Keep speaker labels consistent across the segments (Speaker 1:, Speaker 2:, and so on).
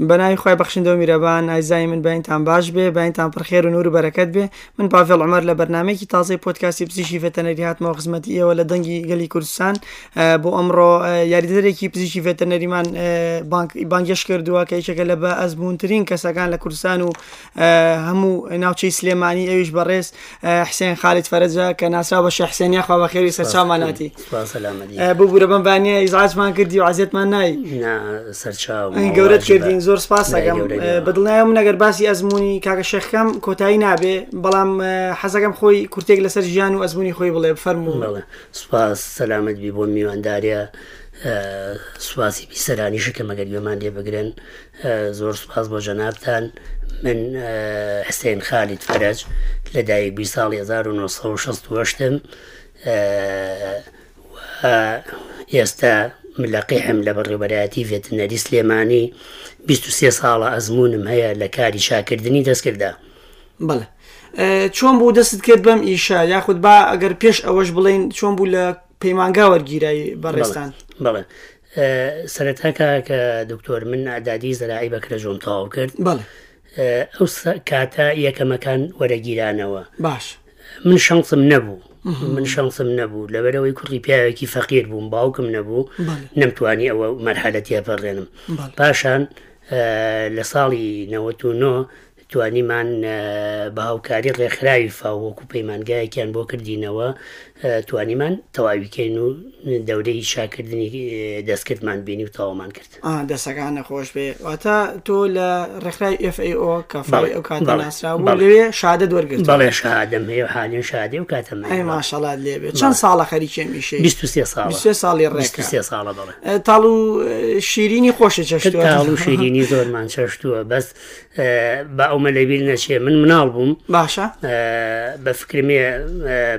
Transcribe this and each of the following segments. Speaker 1: بەناوی خی بەخشندۆ میرەبان ئایزای من باینتان باش بێ باینتان پرخێر و نور و بەرەکەت بێ من پاڤێڵ عمەر لە بەرنمێکی تازای پۆتکاسی پزیشی فەتەنەری هاتمەوە خزمەتی ئێوە لە دەنگی گەلی کوردستان بۆ ئەمڕۆ یاریدەرێکی پزیشی فەتەنەریمان اه، بانگش کردووە کە یچەکە لە بە ئەزبوونترین کەسەکان لە کوردستان و اه، هەموو ناوچەی سلێمانی ئەویش بەڕێز حسێن خالیت فەرجە کە ناسرا بە شەحسێنیا خوا بەخێری سەرچاماناتی ببوورە بمبانە ئیزعاتمان کردی و عزیێتمان نایی گەورەت کردین زۆر سپاس دەگەم بدڵنایم نەگەر باسی ئەزمموی کاکە شەخەم کۆتایی نابێ بەڵام حەزەکەم خۆی کورتێک لەسەر ژیان و ئەزمموی خۆی بڵێ فەرموڵێ
Speaker 2: سپاس سەلامت بی بۆ میوانداریە eh, سواسی پیسەرانی شکە مەگەر گوێمان لێ بگرن زۆر سپاس بۆ ژەنابتان من حسێن خالیت فەرج لە دایک بی ساڵی 1960م eh, ئێستا ملقیحم لە بەڕێبەرایەتی فێتنەری سلێمانی 23 ساڵە ئەزمونم هەیە لە کاری شاکردنی دەستکردا
Speaker 1: بڵێ چۆن بوو دەست کرد بەم ئیشا یاخود با ئەگەر پێش ئەوەش بڵین چۆن بوو لە پەیمانگا وەرگیرایی بەڕێستان
Speaker 2: بڵێ سەرەتاکە کە دکتۆر من ئادادی زەراعی بەکرە ژۆم تەواو کرد
Speaker 1: بڵێ
Speaker 2: ئەو کاتە یەکەمەکان وەرەگیرانەوە
Speaker 1: باش
Speaker 2: من شانسم نەبوو من شانسم نەبوو لەبەرەوەی کوڕی پیاوێکی فەقیر بووم باوکم نەبوو نەمتوانی ئەوە مەرحەتی پەڕێنم پاشان لە ساڵی 99 توانیمان بەهاوکاری ڕێکخراوی فاوەکو پەیمانگایەکیان بۆ کردینەوە توانیمان تەواویکەین و دەورەی شاکردنی دەستکردمان بینی و تاوامان کرد
Speaker 1: دەسەکان نەخۆش بێواتە تۆ لە ڕێکخرای FAO کەفاڵی ئەو کات ناسرا لەوێ شادە دوەرگرت
Speaker 2: بەڵێ شادەم هەیە حالین شادی و کاتەم
Speaker 1: ماشەڵات لێبێ چەند ساڵە خەریکێ میشێ
Speaker 2: 23 ساڵ
Speaker 1: ساڵی ڕێک
Speaker 2: ساڵە بڵێ
Speaker 1: تاڵ و شیرینی خۆشە چەشت
Speaker 2: تاڵ و شیرینی زۆرمان چەشتووە بەس بە ئەومە لەبییر نەچێ من مناڵ بووم
Speaker 1: باشە
Speaker 2: بە فکرمێ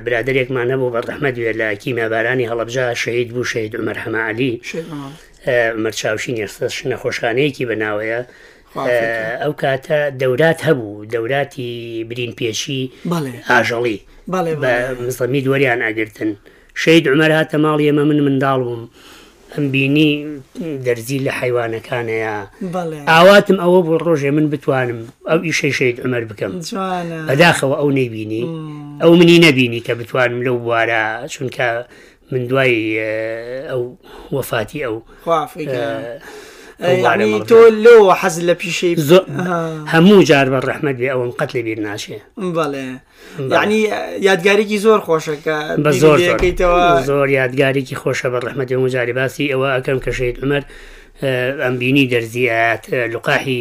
Speaker 2: برادێکمان نەبوو بە ڕحمە دوێ لە کیمە بارانی هەڵبجا شید بوو شید عمر حەمالی مرچاوشی نێستش نەخۆشخانەیەکی بەناوەیە ئەو کاتە دەورات هەبوو دەوراتی برین پێشی ئاژەڵی بە مزەمی دووەریان ئاگرتن شید عمەر هاتە ماڵی ئەمە من منداڵ بووم. ئەم بینی دەرزی لە حیوانەکانەیە ئاواتم ئەوە بۆ ڕۆژێ من بتوانم ئەو ئیشەشەیت ئەمەر بکەم بەداخەوە ئەو نەیبینی ئەو منی نەبینی کە بتوانم لەو بوارە چونکە من دوای ئەو وەفاتی ئەو
Speaker 1: تۆ لەوە حەز لە پیشەی
Speaker 2: هەموو جار بە ڕحمەد بێ ئەوم قەت لە بیر ناشێ
Speaker 1: بڵێ یعنی یادگارێکی زۆر خۆشەکە
Speaker 2: بە زۆرەکەیتەوە زۆر یادگارێکی خۆشە بە ڕحمەتی مجاری باسی ئەوە ئەەکەم کەشێت عمەر ئەم بینی دەرزیات لقاحی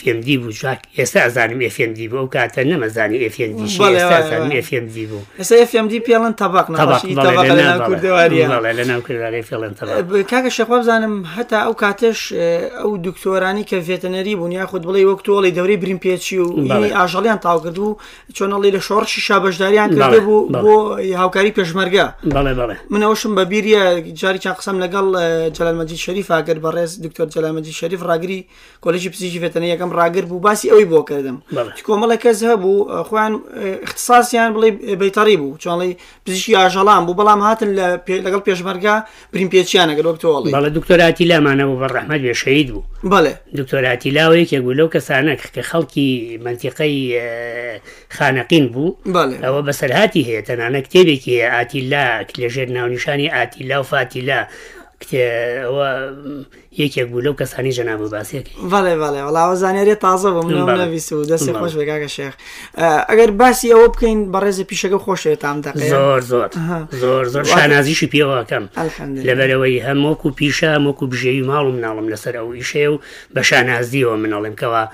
Speaker 2: FMD بوو ژاک ئێستا ئەزانم FMD بوو ئەو کاتە نەمەزانی FMD FMD بوو
Speaker 1: ئێستا FMD پێڵەن تەباق کاکە شەخوا بزانم هەتا ئەو کاتەش ئەو دکتۆرانی کە فێتەنەری بوون یا خود بڵێ وەکتۆڵی دەوری برین پێچی و ئاژەڵیان تاوکرد و چۆنەڵی لە شۆڕشی شابەشداریان کرد بوو بۆ هاوکاری پێشمەرگە منەوەشم بە بیریە جاری چا قسەم لەگەڵ جەلمەجی شەریف ئاگەر بەڕێز دکتۆر جەلامەجی شەریف ڕاگری کۆلژی پزیشی فێتەنەیە یەکەم ڕاگر بوو باسی ئەوی بۆ کردم کۆمەڵە کەس هەبوو خۆیان اختصاسیان بڵێ بەیتەڕی بوو چۆڵی پزیشکی ئاژەڵام بوو بەڵام هاتن لە لەگەڵ پێشمەرگا برین پێچیانەگەر وەکتۆڵی
Speaker 2: بەڵە دکتۆراتی لامانە بوو بە ڕحمەد بێشەید بوو
Speaker 1: بڵێ
Speaker 2: دکتۆراتی لاوەیەکێک بوو لەو کەسانە کە خەڵکی منتیقەی خانەقین بوو ئەوە بەسەرهاتی هەیە تەنانە کتێبێکی هەیە ئاتیلا لەژێر ناونیشانی ئاتیلا و فاتیلا کتێەوە یەکێک بوو لەو کەسانی ژەنا بوو
Speaker 1: باسیێکڵێ بڵێ وڵاوەزانێری تازە بۆ منەویست و دەستی خۆش بگاگە شێخ ئەگەر باسی ئەوە بکەین بەڕێزی پیشەکە خۆشێتام دە
Speaker 2: زۆر زۆر زۆر زۆر شانازیشی پێوەکەم لەبەرەوەی هەمووەکو پیشە مۆکو بژێوی ماڵ و مناڵم لەسەر ئەو ئیشێ و بە شانازیەوە منەڵێم کەەوە.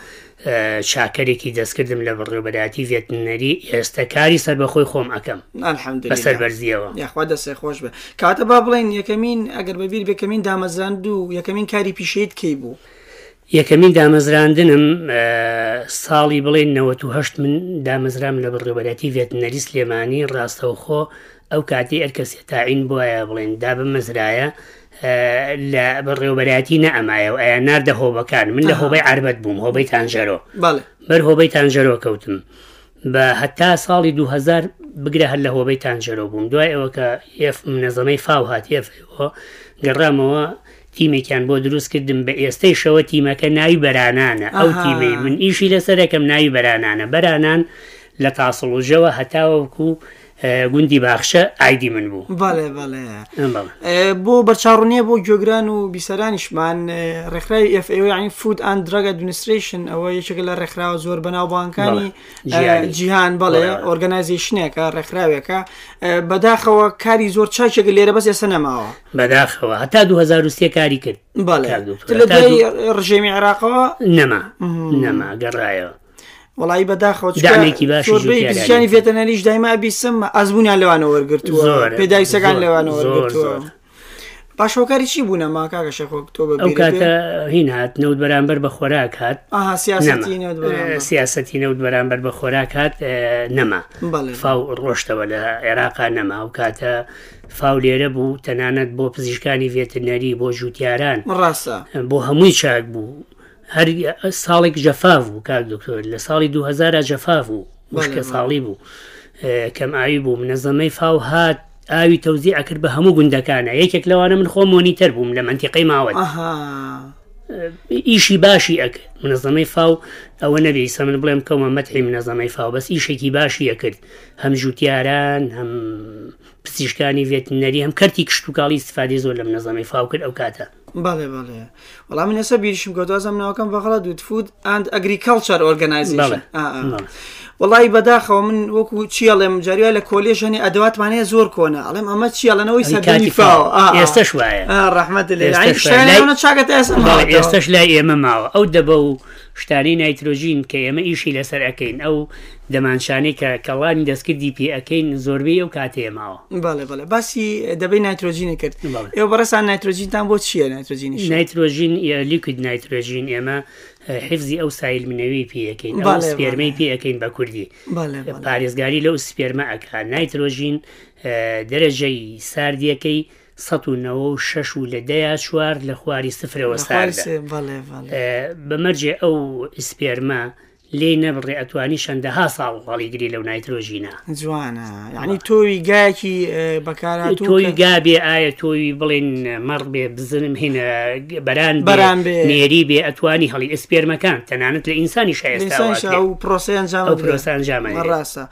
Speaker 2: چاکەرێکی دەستکردم لە بڕێبەراتی ڤێتنەری ئێستا کاری سەر بەخۆی خۆم ئەەکەم بەسەر بەرزیەوە
Speaker 1: یخوا دەسێ خۆش بە کاتە با بڵێن یەکەمین ئەگەر بەبییر بەکەمین دامەزاند و یەکەمین کاری پیشیت کەی بوو
Speaker 2: یەکەمین دامەزراندنم ساڵی بڵێن 98 من دامەزرام لە بڕێبەتی ڤێتنەری سلێمانی ڕاستەوخۆ ئەو کاتی ئەرکەسی تاعین بواە بڵێن دابم مەزرایە لە بڕێوبەتی نەمایە و ئایا ناردە هۆبەکان من لە هۆبەی عربەت بووم هۆبەی تانژەرۆ بەر هۆبەی تانژەرۆ کەوتم بە هەتا ساڵی 2000 بگرە هەر لە هۆبەی تانژەرۆ بووم دوای ئەوە کە ئف نەزەمەی فاو هاتیەفەوە گەڕامەوە تیمێکیان بۆ دروست کردم بە ئێستەی شەوە تیمەکە ناوی بەرانانە ئەو
Speaker 1: ئەها.
Speaker 2: تیمی من ئیشی لەسەرەکەم ناوی بەرانانە بەرانان لە تاسەڵوژەوە هەتاوەکو گوندی باخشە ئایدی من بوو
Speaker 1: بەڵێ بەڵێ
Speaker 2: ئەم بەڵە.
Speaker 1: ئێ، بۆ بەرچڕونیە بۆ گوێگران و بیسەرانیشمان ئێ، ڕێکخراوی FAO یعنی فود ئەن درگە دونیستریشن ئەوە یەکێکە لە ڕێکخراوە زۆر بەناوبانکانی
Speaker 2: بەڵێ. جیهانی.
Speaker 1: ئێ، جیهان بڵێ
Speaker 2: بەڵێ.
Speaker 1: ئۆرگنایزیشنێکە ڕێکخراوێکە ئێ، بەداخەوە کاری زۆر چاکێکە لێرە بەس ئێسە نەماوە
Speaker 2: بەداخەوە هەتا 2023 کاری کرد
Speaker 1: بەڵێ
Speaker 2: کار دوکتۆرە.
Speaker 1: لە
Speaker 2: تا
Speaker 1: دوای
Speaker 2: دوو-
Speaker 1: ڕژێمی عراقەوە
Speaker 2: نەما نەما گەڕایەوە
Speaker 1: وڵی بەداخەوە
Speaker 2: دامێکی باشی جوتیاریانی.
Speaker 1: پزیشانی فێتەنەریش دایما بیسم ئەزبوونیان لەوانە وەرگرتووە
Speaker 2: زۆرە.
Speaker 1: پێداویستەکان
Speaker 2: زۆر،
Speaker 1: لەوانە
Speaker 2: زۆر،
Speaker 1: وەرگرتووە
Speaker 2: زۆر.
Speaker 1: باشۆکاری چی بوونە ماکاگە شەخۆک تۆ بە
Speaker 2: ئەو
Speaker 1: بیرە
Speaker 2: کاتە
Speaker 1: بێ؟
Speaker 2: هین هات نەوت بەرامبەر بە خۆراک هات
Speaker 1: ئاها
Speaker 2: نەما.
Speaker 1: سیاستی نێوت
Speaker 2: ئە، سیاسەتی نەوت بەرامبەر بە خۆراک هات ئە، نەما
Speaker 1: بەڵێ.
Speaker 2: فاو ڕۆشتەوە لە عێراقا نەما ئەو کاتە فاو لێرە بوو تەنانەت بۆ پزیشکانی ڤێتنەری بۆ ژووتیاران
Speaker 1: ڕاستە
Speaker 2: بۆ هەمووی چاک بوو هەر ساڵێک جەفاف بوو کاک دکتۆر لە ساڵی 2000 جەفاف بوو مشکە ساڵی بوو ئێ، کەم ئاوی بوو منەزەمەی فاو هات ئاوی تەوزی ئەکرد بە هەموو گوندەکانە یەکێک لەوانە من خۆ مۆنیتەر بووم لە منتیقی ماوە
Speaker 1: ئەها
Speaker 2: ئیشی باشی ئەکرد منەزەمەی فاو ئەوە نەبی سە من بڵێم کەمە مەتحی منەزەمەی فاو بەس ئیشێکی باشی ئەکرد هەم ژووتیاران هەم پزیشکانی ڤێتنەری هەم کەرتی کشتتوکڵی استفادی زۆر لە منەزەمەی فاو کرد ئەو کاتە
Speaker 1: بەڵێ بەڵێ وەڵام من ئێستا بیریشم کەوتوازم ناوەکەم بەغڵا دوت فود ئەند ئەگریکەلچەر ئۆرگنایزیشن
Speaker 2: بەڵێ. بەڵێ.
Speaker 1: وڵی بەداخەوە من وەکو چیەڵێم جاریە لە کۆلێژەنی ئەدواتمانەیە زۆر کۆنا ئەڵێم ئەمە چیاڵەنەوەی سەردانی
Speaker 2: کاتی
Speaker 1: فاوە
Speaker 2: فاو. ئێستش وایە.
Speaker 1: ڕحمت
Speaker 2: ئێستش وایە.
Speaker 1: لەشتە چاکەت ئێستا
Speaker 2: بەڵێ،
Speaker 1: ماوەتەوە.
Speaker 2: ئێستش لای ئێمە ماوە ئەو دەبە و شتانی نایترۆژین کە ئێمە ئیشی لەسەر ئەەکەین ئەو دەمانشانەی کە کەڵانی دەستکردی پێ ئەەکەین زۆربەی ئەو کاتەیە ماوە
Speaker 1: بەڵێ بەڵێ باسی دەبی نایترۆژینی کرد
Speaker 2: بەڵێ.
Speaker 1: ئێوە بەڕستان نایترۆژینتان بۆ چییە نایترۆژینی
Speaker 2: نایترۆژین یا لیکوید نایترۆژین ئێمە حفزی ئەو سایل منەوەی پێەکەین ئەو
Speaker 1: بەڵێ،
Speaker 2: سپێرمەی پێەکەین بە کوردی
Speaker 1: بەڵێ بەڵێ.
Speaker 2: پارێزگاری لەو سپێرمە ئەکا نایترۆژین دەرەژەی ساردیەکەی 1960 و لە دەیا چوار لە خواری سفرەوە ساردە
Speaker 1: بەڵێ
Speaker 2: Eh.
Speaker 1: بەڵێ
Speaker 2: بەمەرجێ ئەو سپێرمە لێ نەبڕێ ئەتوانی شەندەها ساڵ هەڵیگری لەو نایترۆژینە
Speaker 1: جوانە یعنی تۆوی گایکی بەکارات
Speaker 2: تۆی گابێ ئایا تۆی بڵێن مەڕ بێ بزنم هینە بەران
Speaker 1: بەران بێ.
Speaker 2: نێری بێ ئەتوانی هەڵی ئەسپێرمەکان تەنانەت لە ئینسانی شایستا
Speaker 1: و پرۆسیان
Speaker 2: ئەو پرۆسە ئەنجامە دێت.
Speaker 1: ڕاستە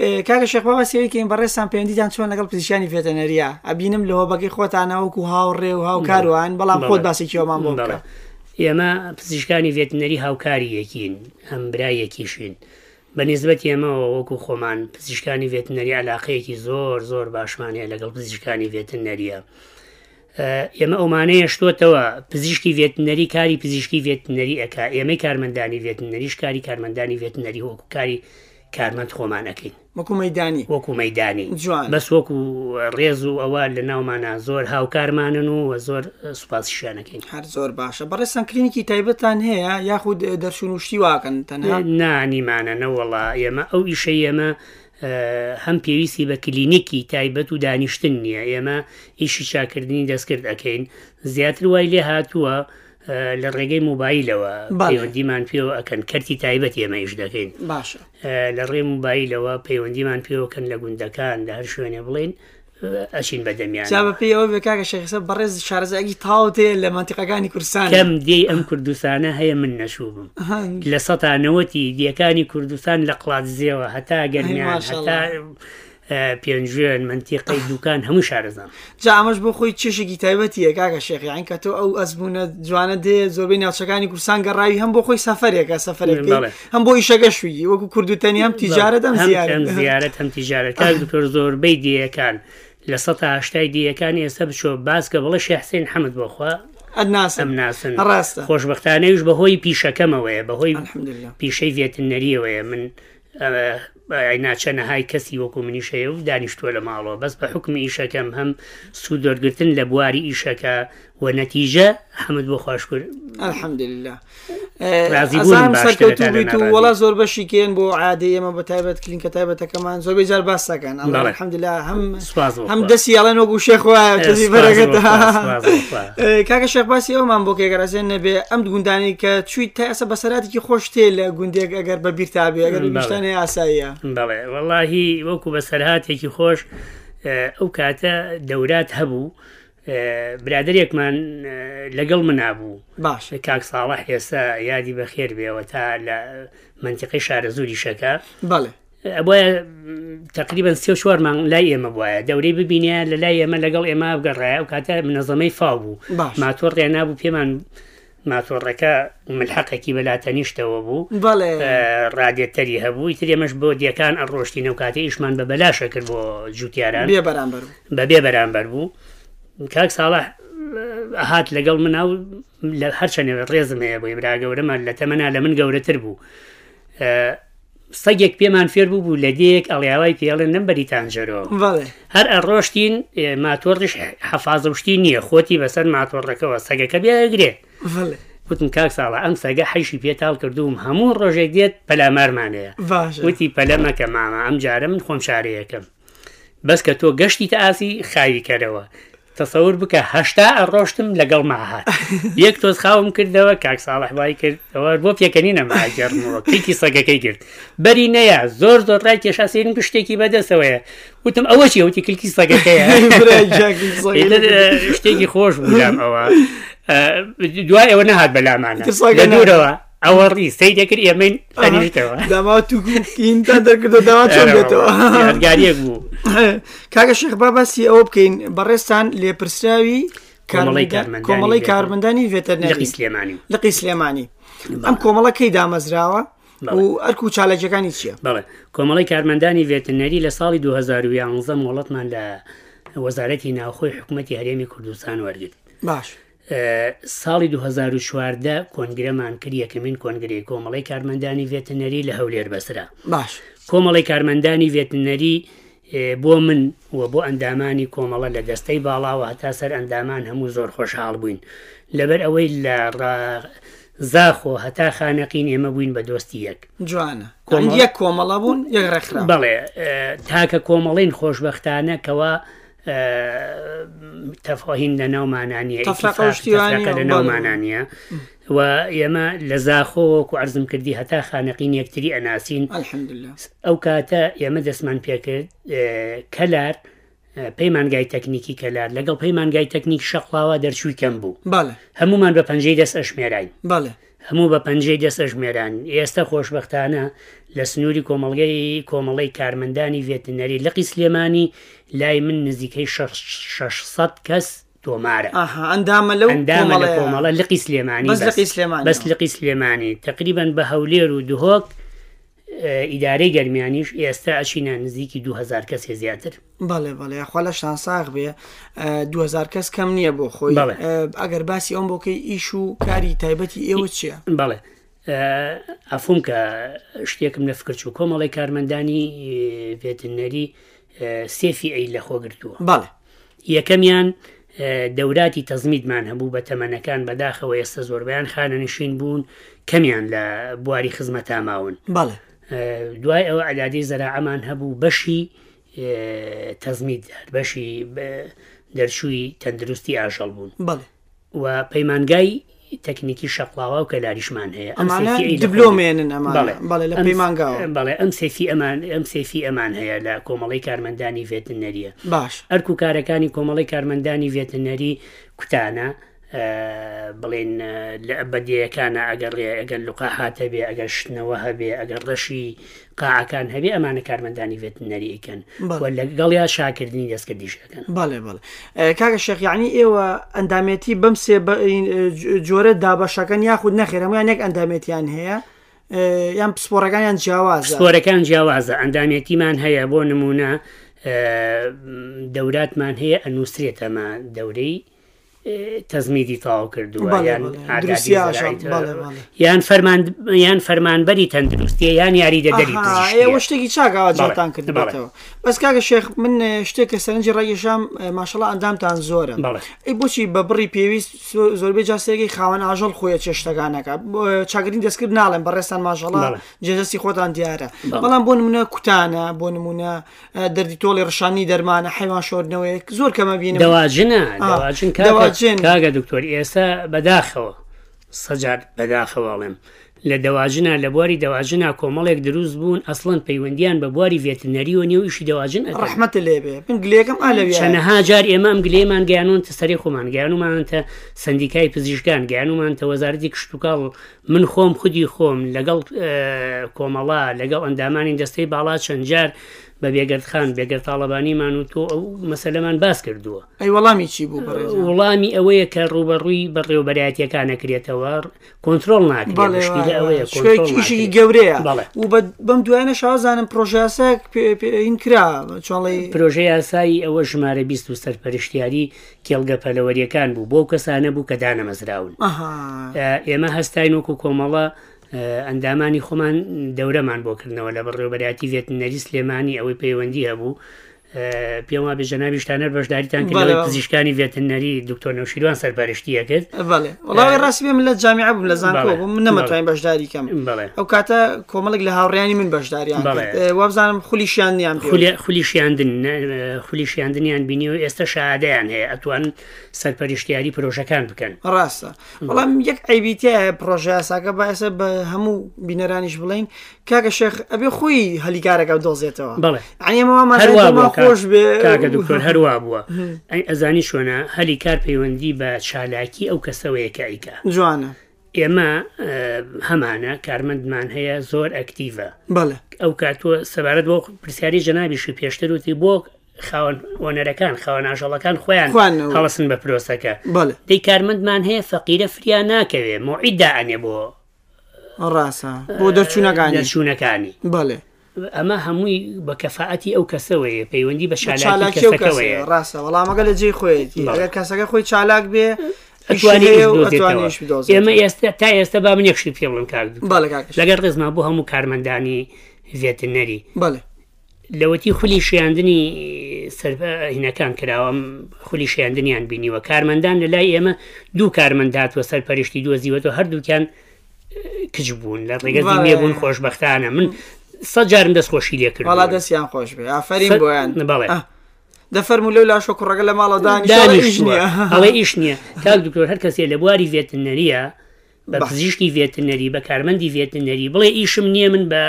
Speaker 1: ئێ، کاکە شەخوا سێویکەین بەڕێستان پێندیدان چۆن لەگەڵ پزیشانی فێتەنەریە ئەبینم لەوە بەگەی خۆتانەوەکو هاوڕێ و هاوکاروان بەڵام خۆت باسێکیەوەمان بۆ بڵێ
Speaker 2: بڵێ. ئێمە پزیشکانی ڤێتنەری هاوکاری یەکین ئەم برای یەکیشین بەنیزبەت ئێمەەوە وەکو خۆمان پزیشکانی ڤێتنەری علااقەیەکی زۆر زۆر باشمانەیە لەگەڵ پزیشکانی ڤێتنەریە ئێمە ئەومانەیە شتوتەوە پزیشکی ڤێتنەری کاری پزیشکی ڤێتنەری ئەک ئێمەی کارمەندانی ڤێتنەریش کاری کارمەندانی ڤێتنەری وەکو کاری کارمەند خۆمانەکەین
Speaker 1: مەکو مەدانی
Speaker 2: وەکو مەدانی
Speaker 1: جوان.
Speaker 2: بەس وەکو ڕێز و ئەوە لە ناومانە زۆر هاوکارمانن و زۆر سوپاسشانەکەین
Speaker 1: هەر زۆر باشە بەڕێستان کلینیکی تایبەتان هەیە یاخود دەرشونوشتی واکەن تەنها
Speaker 2: نانیمانە نەوەڵا ئێمە ئەو ئیشە ئێمە ئە، هەم پێویستی بە کلینیکی تایبەت و دانیشتن نییە ئێمە ئیشی چاکردنی دەستکرد ئەەکەین زیاتر وای لێ هاتووە ئە، لە ڕێگەی موبایلەوە
Speaker 1: بەڵێ.
Speaker 2: پەیوەندیمان پێوە ئەکەن کەرتی تایبەت ئێمەیش دەکەین
Speaker 1: باشە
Speaker 2: ئە، لە ڕێ موبایلەوە پەیوەندیمان پێوەکەن لە گوندەکان لە هەر شوێنێ بڵێن ئە، ئەچین بەدەمیان
Speaker 1: جا بەپی ئەوە بێکاکە شەخسە بەڕێز شارزەگی تاوتێ لە منتیقەکانی کورسان
Speaker 2: کەم دی ئەم کوردستانە هەیە من نەشوو بم. لە سەتانەوەتی دیەکانی کوردستان لە قڵاتزیەوە هەتا گەرمیان
Speaker 1: ماشاءالله.
Speaker 2: هەتا پێنجێن منتیقی دوکان هەموو شارزان
Speaker 1: جا ئەمەش بۆ خۆی چشێکی تایبەتیە کاکە شێخیان کە تۆ ئەو ئەزبوونە جوانە دێ زۆربەی ناوچەکانی کورسان گەڕاوی هەم بۆ خۆی سەفرێکە سەفرێک
Speaker 2: بەڵێ.
Speaker 1: هەم بۆی شەگەشوی وەکو کوردوتەنی هەم تیجارەت ئەم زیارە
Speaker 2: زیارەت هەم تیجارەت کار دکتۆر زۆربەی دیەکان لە سەهشتای دیەکان ئێستا بچۆ باسکە بڵە شحسین حەمد بۆخوا ئەم
Speaker 1: ئەناسم
Speaker 2: ناسن
Speaker 1: ڕاستە.
Speaker 2: خۆشببختانەیش بەهۆی پیشەکەمەوەیە بەهۆی
Speaker 1: الحمدلله.
Speaker 2: پیشەی ڤێتنەریەوەیە من ناچەنەهای کەسی وەکو منیشەیە و دانیشتووە لە ماڵەوە بەس بە حکمی ئیشەکەم هەم سوودۆرگتن لە بواری ئیشەکە و نەتیجە حەمد بۆ خوشکرد
Speaker 1: الحمدلله
Speaker 2: رازی بوون
Speaker 1: ئازانم
Speaker 2: باشترە
Speaker 1: سەرکەوت
Speaker 2: تا لە
Speaker 1: بیت و
Speaker 2: ناڕازی.
Speaker 1: وڵا زۆر بەشی کێن بۆ عادی ئێمە بە تایبەت کلینکە تایبەتەکەمان زۆر بێجار باسەکەن
Speaker 2: بەڵێ.
Speaker 1: الحمدلله هەم
Speaker 2: سپاس بۆ
Speaker 1: هەم
Speaker 2: خوا.
Speaker 1: دەسی یاڵەن وەگو شێخواە کەزی
Speaker 2: سپاس
Speaker 1: بەرەگەت
Speaker 2: بۆ خوا، سپاس بۆ خوا.
Speaker 1: کاکە شەخباسی ئەومان بۆ کێگەڕازێن نەبێ ئەم گوندانی کە چویت تا ئەسە بەسەراتێکی خۆشتێ لە گوندێک ئەگەر بە بیرتابێ ئەگەر
Speaker 2: بەڵێ.
Speaker 1: نیشتانی ئاساییە
Speaker 2: بەڵێ وەڵاهی وەکو بە سەرهاتێکی خۆش ئە، ئەو کاتە دەورات هەبوو برادێکمان لەگەڵ منابوو
Speaker 1: باش
Speaker 2: کاک ساڵح ئێستا یادی بەخێر بێەوە تا لە منتیقی شارە زووری شەکە
Speaker 1: بەڵێ
Speaker 2: بۆە تقریبا سێ شوارمان لای ئێمە بواە دەورەی ببینە لە لای ئێمە لەگەڵ ئێمە بگەڕایە و کاتە منەظەمەی فاو بوو
Speaker 1: باش.
Speaker 2: ماتۆر ڕێنابوو پێمان ماتۆڕەکە ملحقێکی بەلاتەنیشتەوە بوو
Speaker 1: بەڵێ
Speaker 2: ڕادێتەری هەبووی ترێمەش بۆ دیەکان ئەڕۆشتی نەوکاتی ئیشمان بە بەلاشە کرد بۆ جوتیاران
Speaker 1: بێ بەرامبەر بوو.
Speaker 2: بەبێ بەرامبەر بوو کاک ساڵح هات لەگەڵ مناو لە هەرچەنێ ڕێزمەیە بۆی برا گەورەمان لە تەمەنا لە من گەورەتر بوو ئە، سەگێک پێمان فێر بوو بوو لە دێک ئەڵیاوای پێڵێن نمبەریتان جەرەوە
Speaker 1: بەڵێ
Speaker 2: هەر ئەڕۆشتین ئێ، ماتۆڕش حەفازەشتی نییە خۆتی بەسەر ماتۆڕەکەەوە سەگەکە بێگرێ
Speaker 1: بەڵێ
Speaker 2: وتم کاک ساڵە ئەم سەگە حیشی پێتال کردووم هەموو ڕۆژێک دێت پەلامارمانەیە
Speaker 1: باش
Speaker 2: وتی پەلەمەکە ماما ئەم جارە من خۆم شارەیەەکەم بەس کە تۆ گەشتی تا ئاسی خاوی کەرەوە تەسەور بکە هەشتا ئەڕۆشتم لەگەڵ ماهات یەک تۆز خاوم کردەوە کاک ساڵحبای کردەوە بۆ پێکەنی نەماگەڕمەوە پیکی سەگەکەی کرد بەری نەیە زۆر زۆرڕای کێشاسێن شتێکی بەدەستەوەە وتم ئەوە چی وتی کلکی
Speaker 1: برای
Speaker 2: سەگەکەیە
Speaker 1: جاکی سەگەکە.
Speaker 2: ئێ، شتێکی خۆش بووام ئەوە ئە، دوای ئەوە نەهات بەلامانە
Speaker 1: تر سەگە
Speaker 2: لە
Speaker 1: نە.
Speaker 2: دوورەوە ئەوە ڕی سی دەکرد ئێمەین خەنیشتەوە
Speaker 1: داما توکینتا دەرکردو داوا چۆن بێتەوە
Speaker 2: یادگاریەک بوو
Speaker 1: کاگە شێخ باباسی ئەوە بکەین بەڕێستان لێپرسراوی
Speaker 2: کۆمەڵەی
Speaker 1: کارمەندان-
Speaker 2: کارمەندانی
Speaker 1: کۆمەڵی
Speaker 2: وێتەرنەری.
Speaker 1: کارمەندانی
Speaker 2: لەقی
Speaker 1: ڤێتەرنەری
Speaker 2: سلێمانی
Speaker 1: لقی سلێمانی ئەم کۆمەڵەکەی دامەزراوە و ئەرک و چالەجەکانی چییە
Speaker 2: بەڵێ کۆمەڵی کارمەندانی وێتنەری لە ساڵی 2011 وڵەتمان لە وەزارەتی ناوخۆی حکوومەتتی هەرێمی کوردستان وەرگرت
Speaker 1: باش
Speaker 2: ئە، ساڵی 2014 کۆنگرەمان کردی یەکەمین کۆنگری کۆمەڵی کارمەندانی وێتنەری لە هەولێر بەسرە
Speaker 1: باش
Speaker 2: کۆمەڵی کارمەندانی وێتنەری بۆ من و بۆ ئەندامانی کۆمەڵە لە دەستەی باڵاوە هەتا سەر ئەندامان هەموو زۆر خۆشحاڵ بووین لەبەر ئەوەی لە ڕا- زاخۆ هەتا خانەقین ئێمە بووین بە دۆستی یەک
Speaker 1: جوانە
Speaker 2: کۆمەڵ-
Speaker 1: یەک کۆمەڵە بوون یەک ڕێکرا
Speaker 2: بڵێ ئە، تاکە کۆمەڵین خۆشببختانەکەەوە تەفاهین لە ناومانانیە
Speaker 1: تەفرەقە
Speaker 2: ئیتیفاق،
Speaker 1: شتیوانی
Speaker 2: تەفرەقە لە
Speaker 1: بڵێ.
Speaker 2: ناومانانیە و ئێمە لە زاخۆوەکو ئەرزم کردی هەتا خانەقین یەکتری ئەناسین
Speaker 1: الحمدلله
Speaker 2: ئەو کاتە ئێمە دەستمان پێکرد ئێ، کەلار ئە، پەیمانگای تەکنیکی کەلار لەگەڵ پەیمانگای تەکنیک شەقڵاوە دەرچووی کەم بوو
Speaker 1: بەڵێ
Speaker 2: هەمومان بە پەنجەی دەست ئەشمێراین
Speaker 1: بەڵێ
Speaker 2: هەموو بە پەنجەی دەست ئەژمێران ئێستا خۆشببختانە لە سنووری کۆمەلگەی کۆمەڵی کارمەندانی ڤێتنەری لەقی سلێمانی لای من نزیکەی 600 کەس تۆمارە
Speaker 1: ئاها ئەندامە لەو
Speaker 2: ئەندامە لە
Speaker 1: کۆمەڵەیە.
Speaker 2: کۆمەڵە لقی سلێمانی
Speaker 1: بەس لقی سلێمانی.
Speaker 2: بەس لقی سلێمانی تقریبان بە هەولێر و دهۆک ئیدارەی گەرمیانیش ئێستا ئەچینە نزیکی 2000 کەسێ زیاتر
Speaker 1: بەڵێ بەڵێ خوا لە شانساغ بێ ئە، 2000 کەس کەم نییە بۆ خۆی
Speaker 2: بەڵێ.
Speaker 1: ئە، ئەگەر باسی ئەم بۆکەی ئیش و کاری تایبەتی ئێوە چییە
Speaker 2: بەڵێ ئەفوم کە شتێکم لە فکرچ و کۆمەڵی کارمەندانی ڤێتنەری سێفی ئەی لە خۆگرتووە
Speaker 1: بەڵێ
Speaker 2: یەکەمیان ئە، دەوراتی تەزمیدمان هەبوو بە تەمەنەکان بەداخەوە ئێستا زۆربیان خانەنشین بوون کەمیان لە بواری خزمەت ماون
Speaker 1: بەڵێ
Speaker 2: دوای ئەوە ئەلادی زەراعمان هەبوو بەشی ئە، تەزمید دار بەشی بە- دەرچووی تەندروستی ئاژەڵ بوون
Speaker 1: بەڵێ
Speaker 2: و پەیمانگای تەکنیکی شەقڵاوە و کەلاریشمان هەیە ئەم
Speaker 1: ئەمانە
Speaker 2: سێفی ئەی لە
Speaker 1: دیبلۆمێنن ئەمانە.
Speaker 2: بەڵێ.
Speaker 1: بەڵێ، لە
Speaker 2: ئەم-
Speaker 1: پەیمانگاوە.
Speaker 2: بەڵێ ئەم سێفی ئەمان ئەم سێفی ئەمان هەیە لە کۆمەڵی کارمەندانی ڤێتنەریە
Speaker 1: باش
Speaker 2: ئەرک و کارەکانی کۆمەڵی کارمەندانی ڤێتنەری کوتانە ئە، بڵێن ئە، لە بەدیەکانە ئەگەر ڕێ ئەگەر لوقا هاتە بێ ئەگەر شتنەوە هەبێ ئەگەر ڕەشی قاعەکان هەبێ ئەمانە کارمەندانی ڤێتنەریکەن
Speaker 1: بەڵێ.
Speaker 2: لەگەڵیا شاکردنی دەستکردیشەکەن
Speaker 1: بەڵێ بڵێ ئە، کاگە شەقیعنی ئێوە ئەندامەتی بەم سێ بە- ئین، ئە، ج- جۆرە دابەشەکەن یاخود نەخێرەمەیان یەک ئەندامێتیان هەیە ئە، یان پسپۆڕەکانیان جیاوازە
Speaker 2: سپۆرەکان جیاوازە ئەندامێتیمان هەیە بۆ نمونە ئە، دەوراتمان هەیە ئەنووسێتەمە دەورەی ئە، تەزمیدی تاو کردووە
Speaker 1: بەڵێ،
Speaker 2: یان
Speaker 1: بەڵێ.
Speaker 2: ئاگادی
Speaker 1: دروستی ئاژەڵ.
Speaker 2: زەراییتە.
Speaker 1: بەڵێ، بەڵێ.
Speaker 2: یان فەرمان یان فەرمانبەری تەندروستیە یان یاری دەدەری
Speaker 1: ئاها، ئێوە شتێکی چاکەوە جاتان
Speaker 2: بەڵێ،
Speaker 1: کردبێتەوە بەس کاگە شێخ من ئە، شتێکە سەرنجی ڕێگەشام ماشەڵە ئەندامتان زۆرە
Speaker 2: بەڵێ.
Speaker 1: ئەی بۆچی بە بڕی پێویست سو- زۆربەی جاسێکی خاوەن ئاژەڵ خۆیە چێشتەکانەکە چاگرین دەستکرد ناڵێن بە ڕێستان ماژەڵە
Speaker 2: بەڵێ.
Speaker 1: جێدەستی خۆتان دیارە بەڵام بۆ نمونە کوتانە بۆ نمونە ئە، دەردی تۆڵی ڕشانی دەرمانە حیوان شۆردنەوەی زۆر کەمە بینەوە
Speaker 2: دەواژنە
Speaker 1: آه،
Speaker 2: دەواژن
Speaker 1: دەواژن.
Speaker 2: کاگە دکتۆر ئێستا بەداخەوە سەجار بەداخەواڵێم لە دەواژنە لە بواری دەواژنە کۆمەڵێک دروست بوون ئەسڵند پەیوەندیان بە بواری ڤێتنەری و نیێو ئیشی دەواژن
Speaker 1: ڕحمەتە لێبێ من گلێکم ئالەوی
Speaker 2: چەنەها جار ئێمام گلێمان گیانون تەسەری خۆمان گیانومانتە سندیکای پزیشکان گیانومانتە وەزارەتی کشتتوکڵ من خۆم خودی خۆم لەگەڵ ئە، کۆمەڵا لەگەڵ ئەندامانی دەستەی باڵا چەند جار بە بێگەرتخان بێگەرتاڵەبانیمان و تۆ ئەو مەسلەمان باس کردووە
Speaker 1: ئەی وەڵامی چی بوو بەڕێز
Speaker 2: وڵامی ئەوەیە کە ڕوبەڕووی بەڕێوبەراتیەکان نەکرێتەوە کۆنتترۆل ناکرێت مشکلە ئەوەیە کۆنترۆڵ
Speaker 1: شوێکیشی
Speaker 2: ناکرێت.
Speaker 1: گەورەیە
Speaker 2: بەڵێ.
Speaker 1: و بە- بەم دوایە شازانم پرۆژاسەک این کرا چۆڵی
Speaker 2: پرۆژه یاسایی ئەوە ژمارە 20 و سەرپەرشتیاری کێڵگە پەلەوەریەکان بوو بۆ کەسانە بوو کە دانەمەزراون
Speaker 1: ئەها
Speaker 2: ئێمە هەستاین وەکو کۆمەڵە ئە، ئەندامانی خۆمان دەورەمان بۆکردنەوە لە بڕێوبەتی وێت نەریس لێمانی ئەوەی پەیوەندی هەبوو پێما بێژەناوی شتانەر بەشداریتان
Speaker 1: بەڵێ.
Speaker 2: کردەوە پزیشکانی وێتنەری دکتۆر نەوشیروان سەرپەرشتیەکرد
Speaker 1: بەڵێ وڵاوی ڕاستی بێ من لە جامعە بووم لە زانکۆ
Speaker 2: بەڵێ.
Speaker 1: بووم من نەمەتوانین بەشداری کەم
Speaker 2: بەڵێ
Speaker 1: ئەو کاتە کۆمەڵک لە هاوڕیانی من بەشداریان
Speaker 2: بەڵێ.
Speaker 1: کرد. ئێ، وابزانم خولیشیان نیان پێ.
Speaker 2: خولی- خولیشیاندن نە- خولیشیاندنیان بینی و ئێستا شادیان هەیە ئەتوان سەرپەرشتیاری پرۆژەکان بکەن
Speaker 1: ڕاستە بەڵام یەک ئەیبیتیە پرۆژه یاساکە باسە بە هەموو بینەرانیش بڵین کاکە شێخ ئەبێ خۆی هەلیکارەکە دۆزێتەوە
Speaker 2: بەڵێ هەروە
Speaker 1: ئەنیەوەمان
Speaker 2: بووە
Speaker 1: خۆش بێ
Speaker 2: کاک- کاکە دکتۆر هەروە بووە ئەی ئەزانی شوێنە هەلی کار پەیوەندی بە چالاکی ئەو کەسەوەیەکیکە
Speaker 1: جوانە
Speaker 2: ئێمە ئە، هەمانە کارمەندمان هەیە زۆر ئەکتیڤە
Speaker 1: بەڵێ
Speaker 2: ئەو کاتووە سەبارەت بۆ پرسیاری جەنابیشی پێشتر وتی بۆ خاوەن وەنەرەکان خاوە ناژەڵەکان خۆیان
Speaker 1: خۆیانەوە.
Speaker 2: هەڵسن بە پرۆسەکە
Speaker 1: بەڵێ
Speaker 2: دەی کارمەندمان هەیە فەقیرە فریا ناکەوێ مۆعیدا ئەنێ بۆ
Speaker 1: ڕاستە بۆ دەرچوونەکانی
Speaker 2: دەرچوونەکانی
Speaker 1: بەڵێ
Speaker 2: ئەمە هەمووی بە کەفاەتی ئەو کەسەوەیە پەیوەندی بە
Speaker 1: چالاکی و کەسەیە.
Speaker 2: شالاکەوەیە
Speaker 1: ڕاستە وەڵامەکە لە جێی خۆیەتی
Speaker 2: بەڵێ.
Speaker 1: ئەگەر کەسەکە خۆی چالاک بێ ئیشی هەیە و ئەتوانێت ئیش بدۆزێت.
Speaker 2: ئێمە ئێستا تا ئێستا با من یەکشی پێ بڵم کار
Speaker 1: بەڵێ کاکەش
Speaker 2: لەگەر ڕێزما بۆ هەموو کارمەندانی ڤێتنەری
Speaker 1: بەڵێ
Speaker 2: لەوەتی خولی شیاندنی سەرهینەکان کراوەم خولی شیاندنیان بینیوە کارمەندان لە لای ئێمە دوو کارمەنداتوە سەرپەرشتی دۆزیوەەوە هەردووکیان کچ بوون لە ڕێگەزی
Speaker 1: بەڵێ.
Speaker 2: مێبوون خۆشببختانە من سە جارم دەستخۆشی لێ
Speaker 1: بەڵا
Speaker 2: کرد
Speaker 1: دەستیان خۆش بێ ئافرین
Speaker 2: فەر-
Speaker 1: بۆیان
Speaker 2: بەڵێ.
Speaker 1: ئە. دەفەرمو لەو لاشۆ کوڕەکە لە ماڵە
Speaker 2: ئەڵێ ئیش نییە کاک دکتۆر هەر کەسێ لە بواری ڤێتنەریە بە پزیشکی ڤێتنەری بە کارمەندی ڤێتنەری بڵێ ئیشم نییە من بە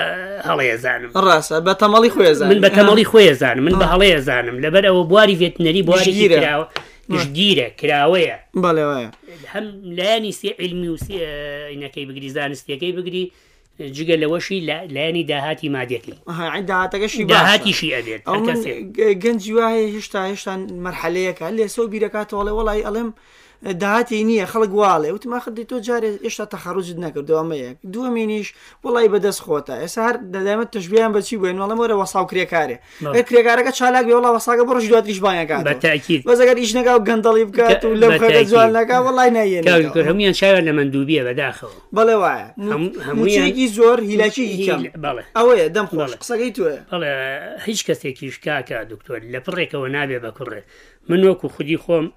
Speaker 2: هەڵەیەزانم
Speaker 1: ڕاستە بە تەمەڵی خۆێزان
Speaker 2: من بە تەمەڵی خۆیەزانم من بە هەڵەیەزانم لەبەر ئەوە بواری ڤێتنەری بواری
Speaker 1: گشتگیرە.
Speaker 2: کراوە گشتگیرە کراوەیە
Speaker 1: بەڵێوەیە
Speaker 2: هەم لایانی سێ علمی و سێ، ئە، ئینەکەی بگری زانستیەکەی بگری جگە لەوەشی لە- لایانی داهاتی مادیەکەی
Speaker 1: داهاتەکەشی
Speaker 2: داهاتیشی ئەبێت
Speaker 1: ئەو
Speaker 2: هەر
Speaker 1: من
Speaker 2: کەسێ.
Speaker 1: گ- گەنجی وایە هێشتا هێشتا مەرحەلەیەەکە لێسە و بیرەکاتەوەڵێ وڵی ئەڵێم داهاتی نییە خەڵک واڵێ وتما خدی تۆ جارێ هێشتا تەخەڕوجت نەکردەوەمەیە دووەمێنیش وڵی بەدەست خۆتە ئێسا هەر دەدامەت تشبیان بەچی بێن وڵم وەرە وەساو کرێکارێ
Speaker 2: بەڵێ.
Speaker 1: ئەر کرێکارەکە چالاک بێ وڵا وەساگە بڕژ دواتریش بانەکان
Speaker 2: بە تاکید.
Speaker 1: بەزەگەر ئیش نەگا و گەندەڵی بکات و
Speaker 2: بە-
Speaker 1: لەو
Speaker 2: بە
Speaker 1: خەکە
Speaker 2: تاکید.
Speaker 1: جوان نەکا وڵی نایە
Speaker 2: کاک دکتۆر هەمویان چاوە لە مندوبیە بەداخەوە
Speaker 1: بەڵێ وایە
Speaker 2: هەم- هەموویان-
Speaker 1: موچێکی زۆر هیلاکی کەم
Speaker 2: هیل- بەڵێ.
Speaker 1: ئەوەیە دەم خۆش
Speaker 2: بەڵێ.
Speaker 1: قسەکەی توە
Speaker 2: بەڵێ هیچ کەسێکیش کاکە دکتۆر لە پڕێکەوە نابێ بە کوڕێ من وەکو خودی خۆم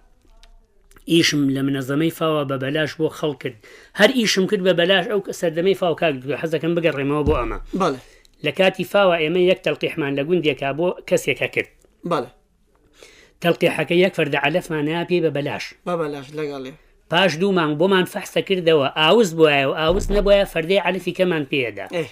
Speaker 2: ئیشم لە منەزەمەی فاوە بە بەلاش بۆ خەڵ کرد هەر ئیشم کرد بە بەلاش ئەو کە سەردەمەی فاو کاک دکتۆر حەزەکەم بگەڕێمەوە بۆ ئەمە
Speaker 1: بەڵێ
Speaker 2: لە کاتی فاوە ئێمە یەک تەلقیحمان لە گوندێکا بۆ کەسێکە کرد
Speaker 1: بەڵێ
Speaker 2: تەلقیحەکە یەک فەردە علەفمان ناپی بە بەلاش
Speaker 1: بە بەلاش لەگەڵێ
Speaker 2: پاش دوومان بۆمان فەحسە کردەوە ئاوز بواە و ئاوز نەبواە فەردەی علەفی کەمان پێدا
Speaker 1: ئێ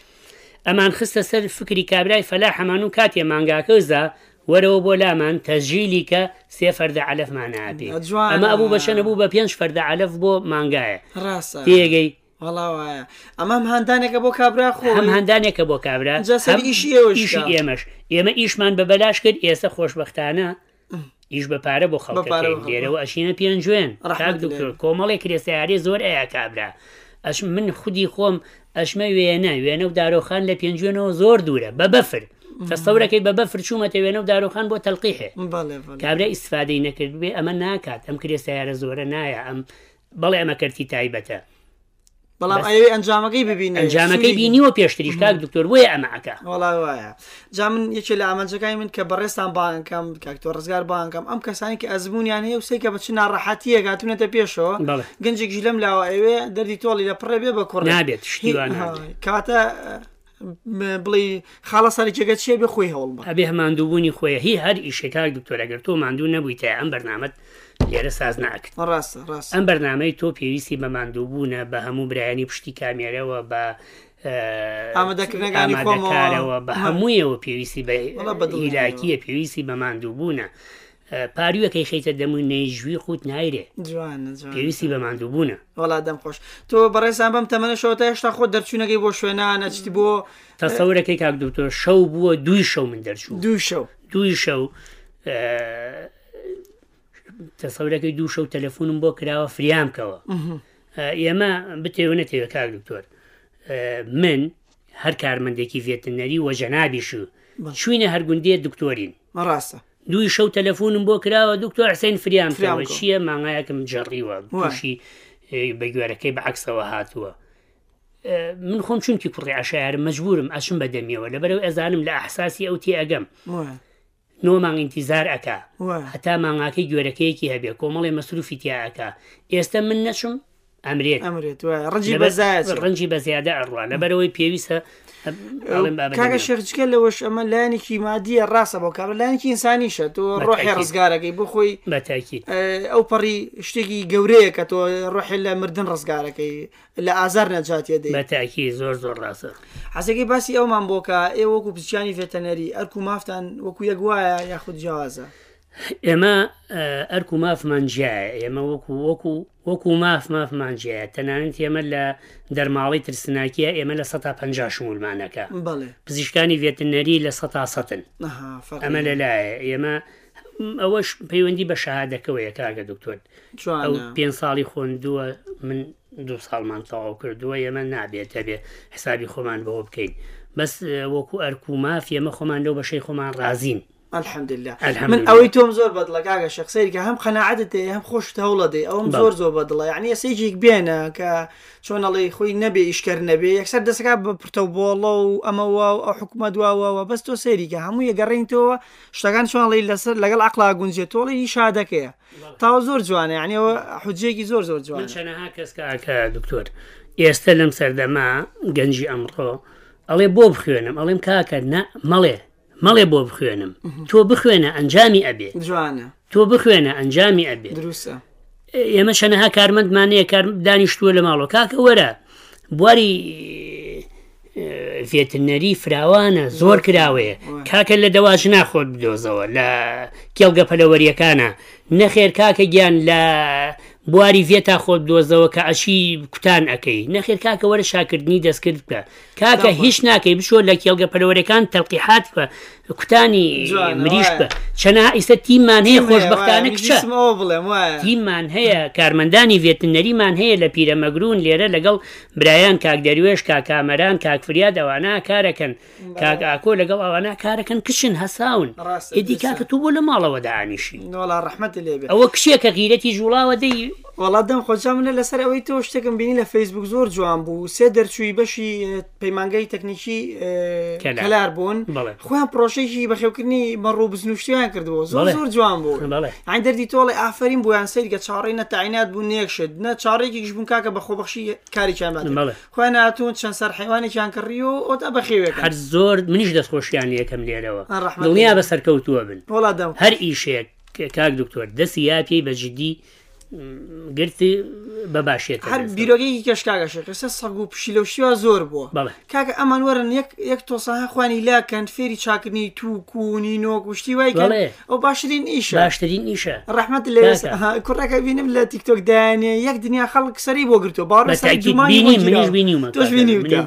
Speaker 2: ئەمان خستە سەر فکری کابرای فەلا حەمان و کاتێ مانگاکەزا وەرەوە بۆ لامان تەژیلی کە سێ فەردە علەفمان نابێ
Speaker 1: جوانە.
Speaker 2: ئەمە ئەبوو بەشەنە بوو بە پێنج فەردە علەف بۆ مانگایە
Speaker 1: ڕاستە
Speaker 2: تێگەی
Speaker 1: وڵاوایە ئەمام هەندانێکە بۆ کابرا خۆ
Speaker 2: هەم هەندانێکە بۆ کابرا
Speaker 1: جا سەر
Speaker 2: هەم
Speaker 1: ئیشی ئێوەش
Speaker 2: ئیشی
Speaker 1: کا.
Speaker 2: ئێمەش ئێمە ئیشمان بە بەلاش کرد ئێستا خۆشببختانە ئیش بە پارە بۆ
Speaker 1: پارە
Speaker 2: خەڵکەکەین
Speaker 1: بۆ خەڵک.
Speaker 2: لێرەوە ئەشینە پێنجێن
Speaker 1: ڕەحمەت لێ.
Speaker 2: کۆمەڵی کرێسیارێ زۆر ئایا کابرا ئەش من خودی خۆم ئەشمە وێنە وێنە و دارۆخان لە پێنجێنەوە زۆر دوورە بە بەفر تەستەورەکەی بە بەفر چوومەتە وێنە و دارۆخان بۆ تەلقیحێ
Speaker 1: بەڵێ بەڵێ
Speaker 2: کابرا ئیسفادەی نەکرد بێ ئەمە ناکات ئەم کرێسیارە زۆرە نایە ئەم بەڵێ ئەمە کردی تایبەتە
Speaker 1: بەڵام ئەوێ ئەنجامەکەی ببینێ
Speaker 2: ئەنجامەکەی بینیوە پێشتریش کاک دکتۆر وی ئەمەکە
Speaker 1: وڵاوایە جا من یەکێ لە ئامانجەکانی من کە بەڕێستان بانکەم کاکتۆ ڕزگار بانکەم ئەم کەسانی کە ئەزمونیان هەیە وسەی کە بە چ ناڕەحەتیە گاتونەتە پێشەوە
Speaker 2: بەڵێ.
Speaker 1: گەنجێک ژی لەم لاوە ئەوێ دەردی تۆڵی لە پڕێ بێ بە کوڕ
Speaker 2: نابێت، شتیوان نابێت.
Speaker 1: کاتە بڵی خاڵە ساری جگەت چێ بێ خۆی هەوڵ بە
Speaker 2: ئەبێ هەماندووبوونی خۆی هی هەر ئیشێکا دکتۆرەگەر تۆ ماندوو نەبوویتە ئەم بەرنمەت لێرە ساز ناکرد
Speaker 1: ڕاستە ڕاست
Speaker 2: ئەم بەرنمەی تۆ پێویستی بە ماندووبوونە بە هەموو برایانی پشتی کامێرەوە بە
Speaker 1: ئامادەکردنەکانی خۆمەوە.
Speaker 2: ئامادەکارەوە بە هەموویەوە پێویستی بە
Speaker 1: وەڵا بەدڵی
Speaker 2: هیلاکیە پێویستی بە ماندووبوونە پارویەکەی خیتە دەمون نەیژوی خوت نایرێ
Speaker 1: جوانە جوان
Speaker 2: پێویستی بە ماندووبوونە
Speaker 1: وڵا دەم خۆش تۆ بەڕێسان بەم تەمەەشەوە تا هێشتا خۆ دەرچوونەکەی بۆ شوێنان ئەچتی بۆ
Speaker 2: تەسەورەکەی کاک دکتۆر شەو بووە دوی شەو من دەرچوو
Speaker 1: دوو شەو
Speaker 2: دوی شەو تەسەورەکەی دوو شەو تەلەفۆنم بۆ کراوە فریامکەوە ئێمە بتێوە نەتێوە کار دکتۆر ئە، من هەر کارمەندێکی ڤێتنەری وەژەنابیش و شوینە هەرگوندێ دکتۆرین
Speaker 1: ڕاستە
Speaker 2: دوی شەو تەلەفۆنم بۆ کراوە دکتۆر حسین
Speaker 1: فریام
Speaker 2: فریامەوە
Speaker 1: کۆ.
Speaker 2: چییە مانگایەکەم جەڕیوە گوشی بە گوێرەکەی بە عکسەوە هاتووە ئە، من خۆم چونکی کوڕی عشاعر مەجبورم ئەشم بەدەمیەوە لەبەرەو ئەزانم لە ئەحساسی ئەو تێ ئەگەم
Speaker 1: وای.
Speaker 2: نۆمان ئینتیزار ئەکا
Speaker 1: وای.
Speaker 2: هەتا مانگاکەی گوێرەکەیەکی هەبێ کۆمەڵی مەسروفی تیاکە ئێستا من نەچم ئەمرێت
Speaker 1: ئەمرێت وای ڕجی
Speaker 2: لەبەر-
Speaker 1: بەزایە
Speaker 2: ڕەنجی بە زیادە ئەڕوان لەبەرەوەی پێویستە ئەڵم بابەت
Speaker 1: کاگە
Speaker 2: نەبێت.
Speaker 1: شێخچکە لەوەش ئەمە لایەنێکی مادیە ڕاستە بۆ کار لایەنکی ئینسانیشە تۆ ڕۆحی
Speaker 2: تاکید.
Speaker 1: ڕزگارەکەی بۆ خۆی
Speaker 2: بە تاکید
Speaker 1: ئە، ئەو پەڕی شتێکی گەورەیە کە تۆ ڕۆحی لە مردن ڕزگارەکەی لە ئازار نەجاتێ دەی
Speaker 2: بە تاکی زۆر زۆر ڕاستە
Speaker 1: حەسەکەی باسی ئەومان بۆکە ئێوە وەکو پچیانی فێتەنەری ئەرکو مافتان وەکو یەک وایە یاخود جیاوازە
Speaker 2: ئێمە ئە، ئەرک و مافمانجیایە ئێمە وەکو وەکو وەکو ماف مافمانجیایە تەنانەت ئێمە لە دەرماڵی ترسناکیە ئێمە لە 150 شمولمانەکە
Speaker 1: بڵێ
Speaker 2: پزیشکانی ڤێتنەری لە 100 سەن
Speaker 1: نها فەرقی
Speaker 2: ئەمە لەلایە ئێمە ئەوەش پەیوەندی بە شەهادەکەەوەیە کاگە دکتۆر ئەو
Speaker 1: جوانە.
Speaker 2: پێ ساڵی خوندووە من دو ساڵمان تەواو کردووە ئێمە نابێتە بێ حسابی خۆمان بەوە بکەین بەس ئە، وەکو ئەرکو مافی ئەمە خۆمان لەو بەشەی خۆمان رازین
Speaker 1: الحمدلله من
Speaker 2: الحمدلله.
Speaker 1: ئەوەی تۆم زۆر بەدڵە کاگە شخصێری کە هەم قەنەعادت هەیە، هەم خۆش هەوڵە دێ ئەوم
Speaker 2: بەڵێ.
Speaker 1: زۆر زۆر بەدڵە یعنی سێجێک بێنە کە چۆنەڵی خۆی نەبێ ئیشکەر نەبێ یەکسەر دەسەکە بە پرتەوبۆڵە و ئەمەوە و ئەو حکومە دواوەوە بەست تۆ سێریکە هەموو یەگەڕێنیتەوە شتەکان چۆنڵی لەسەر لەگەڵ عقلا گونجێت تۆڵی شادەکەیە تاوا زۆر جوانە یعنیەوە حجێکی زۆر زۆر
Speaker 2: من
Speaker 1: جوانە
Speaker 2: چەنەها کەسکەکە دکتۆر ئێستا لەم سەردەما گەنجی ئەمڕۆ ئەڵێ بۆ بخوێنم ئەڵێم کاکە نە مەڵێ مەڵێ بۆ بخوێنم تۆ بخوێنە ئەنجامی ئەبێ
Speaker 1: جوانە
Speaker 2: تۆ بخوێنە ئەنجامی ئەبێ
Speaker 1: دروستە
Speaker 2: ئێمە شەنەها کارمەندمانەیە کار دانیشتووە لە ماڵۆ کاکە وەرە بواری فێتنەری فراوانە زۆر کراوەیە کاکە لە دەواش ناخۆت بدۆزەوە لە کێڵگە پەلەوەریەکانە نەخێر کاکە گیان لە بواری ڤێتا خۆت دۆزەوە کە ئەشی کوتان ئەەکەی نەخێر کاکە وەرە شاکردنی دەستکرد بکە کاکە هیچ ناکەی بشۆ لە کێڵگە پەلەوەریەکان تەڵقیحات بە کوتانی
Speaker 1: جوانە،
Speaker 2: مریش
Speaker 1: وایە.
Speaker 2: بە چەنەها ئیستا تیممان هەیە خۆشبختانە کچە
Speaker 1: کچەوە بڵێم وایە
Speaker 2: تیممان هەیە کارمەندانی ڤێتنەریمان هەیە لە پیرەمەگرون لێرە لەگەڵ برایان کاکدەروێش کاکامەران کاکفریا دەوانا کارەکەن کاک ئاکۆ لەگەڵ ئەوانا کارەکەن کشن هەساون
Speaker 1: ڕاستە،
Speaker 2: ئیدی
Speaker 1: درستە.
Speaker 2: کاکە تو بۆ لە ماڵەوە دانیشی
Speaker 1: وڵا ڕحمەت لێبێ
Speaker 2: ئەوە کشێکە غیرەتی ژوڵاوە دەی
Speaker 1: وڵات دەم خۆجا منە لەسەر ئەوەی تۆ شتێکم بینی لە فیسبوک زۆر جوان بوو سێ دەرچووی بەشی ئە، پەیمانگەی تەکنیکی ئە،
Speaker 2: کەلار.
Speaker 1: کەلار بوون
Speaker 2: بڵێ.
Speaker 1: خۆیان پرۆشێکی بەخێوکردنی بەڕوو بزنوشتیان کردووە زۆر
Speaker 2: بڵێ.
Speaker 1: زۆر جوان بوو
Speaker 2: بڵێ.
Speaker 1: ئەین دەردی تۆڵی ئافرین بۆیان سریگە چاڕی نەتەعینات بوو نێکشت نە چاڕێکیش بوون کاکە بە خۆبەخشی کاریان
Speaker 2: بڵێ.
Speaker 1: خۆیان ناتون چەند سەر حیوانێکیان کڕی و ئۆتا
Speaker 2: هەر
Speaker 1: بەخێوێک
Speaker 2: زۆر منیش دەستخۆشیان یەکەم لێرەوە
Speaker 1: ئا، ڕەحمەت
Speaker 2: دڵنیا
Speaker 1: لێ.
Speaker 2: بە سەرکەوتووە بن
Speaker 1: وڵات دەم
Speaker 2: هەر ئیشەیە کاک دکتۆر دەستی یاپی بە جدی م، گرتی بە باشێت
Speaker 1: هەر بیرۆگەیەکی کەشکاگەشێک سە سەگ و پشیلەشیوە زۆر بووە
Speaker 2: بەڵێ.
Speaker 1: کاکە ئەمان وەرن یەک- یەک تۆسەها خوانی لاکەن فێری چاکردنی تووک و نینۆک وشتی وای
Speaker 2: بەڵێ.
Speaker 1: ئەو باشترین ئیش
Speaker 2: باشترین نیشە
Speaker 1: ڕحمت
Speaker 2: کاکە.
Speaker 1: لە کوڕەکە بینم لە تیکتۆک دایانێ یەک دنیا خەڵک سەری بۆ گرتو باڕ
Speaker 2: بەتاکید بینی منیش بینیمە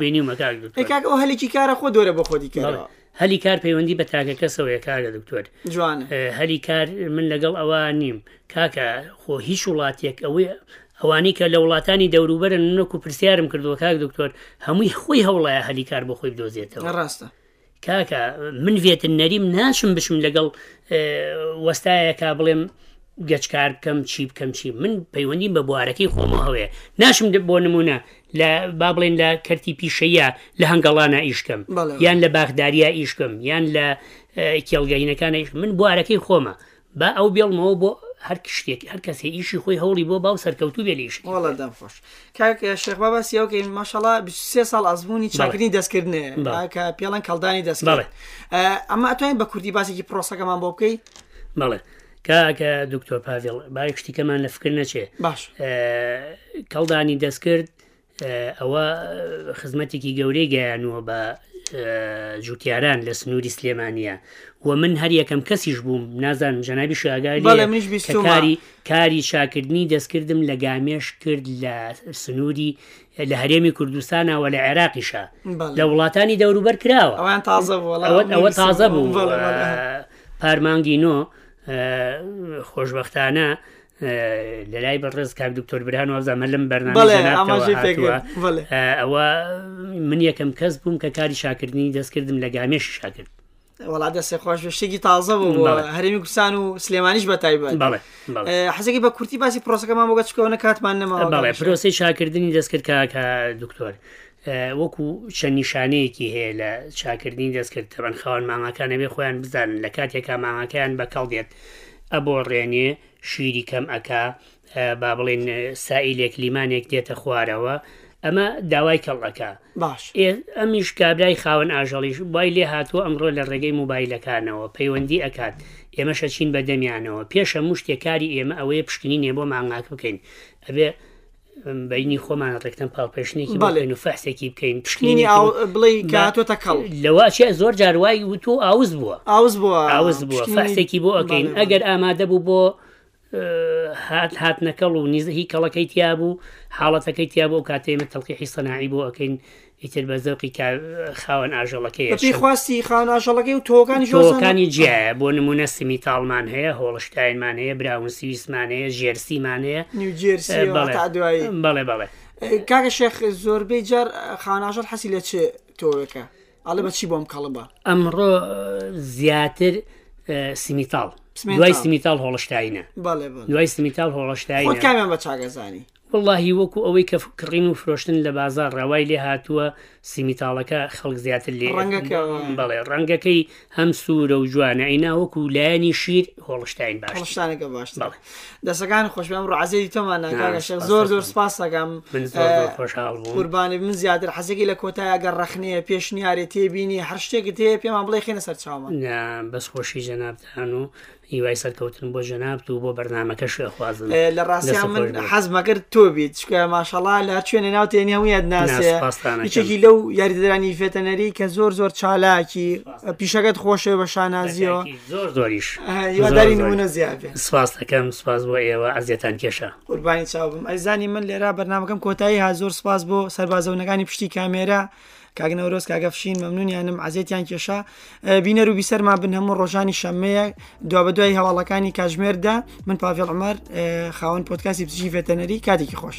Speaker 2: بینیمە کار
Speaker 1: کاک ئەو هەلێکی کارە خۆ دۆرە بۆ خۆدی کردەوە
Speaker 2: هەلی کار پەیوەندی بە تاکە کەسەوەیە کارە دکتۆر
Speaker 1: جوانە
Speaker 2: هەلی کار من لەگەڵ ئەوە نیم کاکە خۆ هیچ وڵاتێک ئەوەی ئەوانی کە لە وڵاتانی دەوروبەرن نەکو پرسیارم کردووە کاک دکتۆر هەمووی خۆی هەوڵایە هەلی کار بۆ خۆی بدۆزێتەوە
Speaker 1: ڕاستە
Speaker 2: کاکە من ڤێتن نەریم ناشم بشم لەگەڵ وەستایەکە بڵێم گەچکار بکەم چی بکەم چی من پەیوەندیم بە بوارەکەی خۆمە هەوەیە ناشم د- بۆ نمونە لە با بڵێن لە کەرتی پیشەیە لە هەنگەڵانە ئیشکەم
Speaker 1: بەڵێ.
Speaker 2: یان لە باخداریە ئیشکم یان لە کێڵگەینەکانە ئیش من بوارەکەی خۆمە با ئەو بێڵمەوە بۆ هەر شتێک هەر کەسێ ئیشی خۆی هەوڵی بۆ باو سەرکەوتو بێلیش
Speaker 1: وڵە دەم خۆش کاک شێخبا بەسیەوەکەی ماشەڵا سێ ساڵ ئازبوونی چاکردنی دەستکردنێ کە پێڵەن کەلدانی دەست
Speaker 2: بەڵێ.
Speaker 1: ئەمە ئەتوانین بە کوردی باسێکی پرۆسەکەمان بۆ بکەیت
Speaker 2: بەڵێ کاکە دکتۆر پاڤێڵ باەک شتیکەمان لە فکر نەچێ
Speaker 1: باش
Speaker 2: کەڵدانی دەستکرد ئە، ئەوە خزمەتێکی گەورەی گەیانوە بە ئە، جوتیاران لە سنووری سلێمانە و من هەر یەکەم کەسیش بووم نازان جەنابی
Speaker 1: بەڵێ، منیش
Speaker 2: شاگاری
Speaker 1: بیستوومە.
Speaker 2: کاری کاری شاکردنی دەستکردم لە گامێش کرد لە سنووری لە هەرێمی کوردستانەوە لە عێراقیشە
Speaker 1: بەڵێ.
Speaker 2: لە وڵاتانی دەوروبەر کراوە
Speaker 1: ئەوان تازە بوو وەڵا.
Speaker 2: ئەوە ئەوە
Speaker 1: نوویسم.
Speaker 2: تازە بوو
Speaker 1: بەڵێ، بەڵێ.
Speaker 2: ئە، پارمانگی نۆ ئە، خۆشببختانە ئە، لە لای بەڕێز کاک دکتۆر بران و زەمە لەم
Speaker 1: بەڵێ، ئاماژەی پێکرد. بەڵێ.
Speaker 2: ئەوە من یەکەم کەس بووم کە کاری شاکردنی دەستکردم لە گامێش شاکرد
Speaker 1: وڵا دەستی خۆش شتێکی تازە بوو
Speaker 2: بەڵێ.
Speaker 1: هەرمی کوردستان و سلێمانیش بە تایبەت
Speaker 2: بەڵێ بەڵێ.
Speaker 1: حزێکی بە کورتی باسی پرۆسەکەمان بۆگە چکەوە کاتمان
Speaker 2: بەڵێ
Speaker 1: نەماوە
Speaker 2: پرۆسی شاکردنی دەستکرد کا کە دکتۆر ئە، وەکو چەند نیشانەیەکی هەیە لە چاکردنی دەستکرد تەبەن خاوەن ماماکانە بێ خۆیان بزانن لە کاتێکا ماماکەیان بەکەڵ دێت ئەبۆ ڕێنێ شیری کەم ئەک با بڵێن ئە، سائیلێک لیمانێک دێتە خوارەوە ئەمە داوای کەڵەکە
Speaker 1: باش
Speaker 2: ئێ، ئەمیش کابرای خاوەن ئاژەڵیش وای لێ هاتووە ئەمڕۆ لە ڕێگەی موبایلەکانەوە پەیوەندی ئەکات ئێمەشە چین بە دەمیانەوە پێشە مشتێکاری ئێمە ئەوەیە پشکنی نێ بۆ مانگاک بکەین ئەبێ ئەم، بینی خۆمان ڕێکتم پاڵپێشنێکی
Speaker 1: بەڵێ.
Speaker 2: بڵێن و فەحسێکی بکەین
Speaker 1: نینی
Speaker 2: پشکنی
Speaker 1: ئاو بڵی
Speaker 2: با-
Speaker 1: کاتۆ تەکەڵ
Speaker 2: لەواشە زۆر جاروایی و تۆ ئاوز بووە
Speaker 1: ئاوز بووە
Speaker 2: ئاوز بووە
Speaker 1: پشکنینی-
Speaker 2: فەحسێکی بۆ ئەکەین
Speaker 1: بەڵێ، بەڵێ.
Speaker 2: ئەگەر ئامادە بوو بۆ ئە، آه، هات هات نەکەڵ و نیزهی کەڵەکەی تیا بوو حاڵەتەکەی تیا بۆ کاتێمە تەڵقیحی سەناعی بۆ ئەکەین ئیتر بە زەوقی کا- خاوەن ئاژەڵەکەی
Speaker 1: بەپی خواستی خاناشەڵەکەی و تۆکانی ژۆزان
Speaker 2: تۆکانی جیایە بۆ نمونە سمی تاڵمان هەیە هۆڵشتاینمان هەیە براون سویسمان هەیە ژێرسیمان هەیە
Speaker 1: نیوجێرسی
Speaker 2: بەڵێ.
Speaker 1: تا دوایی
Speaker 2: بەڵێ بەڵێ
Speaker 1: کاکە شێخ زۆربەی جار خاناشەر حەسی لە چێ تۆەکە ئەڵە بەچی بۆم کەڵبە
Speaker 2: ئەمڕۆ ئە، زیاتر ئە، سمیتال
Speaker 1: سمیتال.
Speaker 2: آه، دوای سمیتال هۆڵشتاینە
Speaker 1: بەڵێ بڵ
Speaker 2: دوای سمیتال هۆڵشتاینە
Speaker 1: خۆت کامیان بە چاگەزانی
Speaker 2: واللهی وەکو ئەوەی کە کڕین و فرۆشتن لە بازار ڕەوای لێ هاتووە سیمیتاڵەکە خەڵک زیاتر لێ
Speaker 1: ڕەنگەکەەوە.
Speaker 2: بەڵێ ڕەنگەکەی هەم سوورە و جوانە ئەینا وەکو لایەنی شیر هۆڵشتین باش
Speaker 1: هەڵشتانەکە باش
Speaker 2: بەڵێ.
Speaker 1: دەسەکان خۆشبم ڕعزیری تۆمانە
Speaker 2: نا،
Speaker 1: کاگەشە
Speaker 2: سپاس
Speaker 1: زۆر
Speaker 2: دەکەم.
Speaker 1: زۆر سپاس دەگەم
Speaker 2: من زۆر زۆر
Speaker 1: ئە،
Speaker 2: خۆشحاڵ بووم
Speaker 1: قوربانی من زیاتر حەزێکی لە کۆتایگەر ڕخنەیە پێشنیارێ تێبینی هەر شتێکت هەیە پێمان بڵێ خێنە سەر چاومان
Speaker 2: نا، بەس خۆشی جەنابتان و هیوای سەرکەوتن بۆ جەنابت و بۆ بەرنمەکە شێخوازن
Speaker 1: ئێ، لە ڕاستیان من حەزمەکرد تۆ بیت چکە ماشەڵا لە چێنە ناو تێنیەویت ناسێ
Speaker 2: سپاستانەکەم.
Speaker 1: هیچێکی لەو یاریدەرانی فێتەنەری کە زۆر زۆر چالاکی پیشەکەت خۆشە بە شانازیەوە
Speaker 2: زۆر زۆریش
Speaker 1: ئە، هیواداری
Speaker 2: زۆر زۆری.
Speaker 1: نمونە زیابێ
Speaker 2: سپاس دەکەم سپاس بۆ ئێوە ئازیێتان کێشە
Speaker 1: قوربانی چاوم ئەزانی من لێرا بەرنمەکەم کۆتایی ها زۆر سپاس بۆ سربازەونەکانی پشتی کامێرە کاگنەورۆز کاگەفشین مەمنونیانم عزیێتیان کێشا بینەر و بیسەرما بن هەموو ڕۆژانی شەمەیە دو بە دوای هەواڵەکانی کاژمێردا من پاڤێڵ عمەر خاوەن پۆتکاسی پزیشی فێتەنەری کاتێکی خۆش.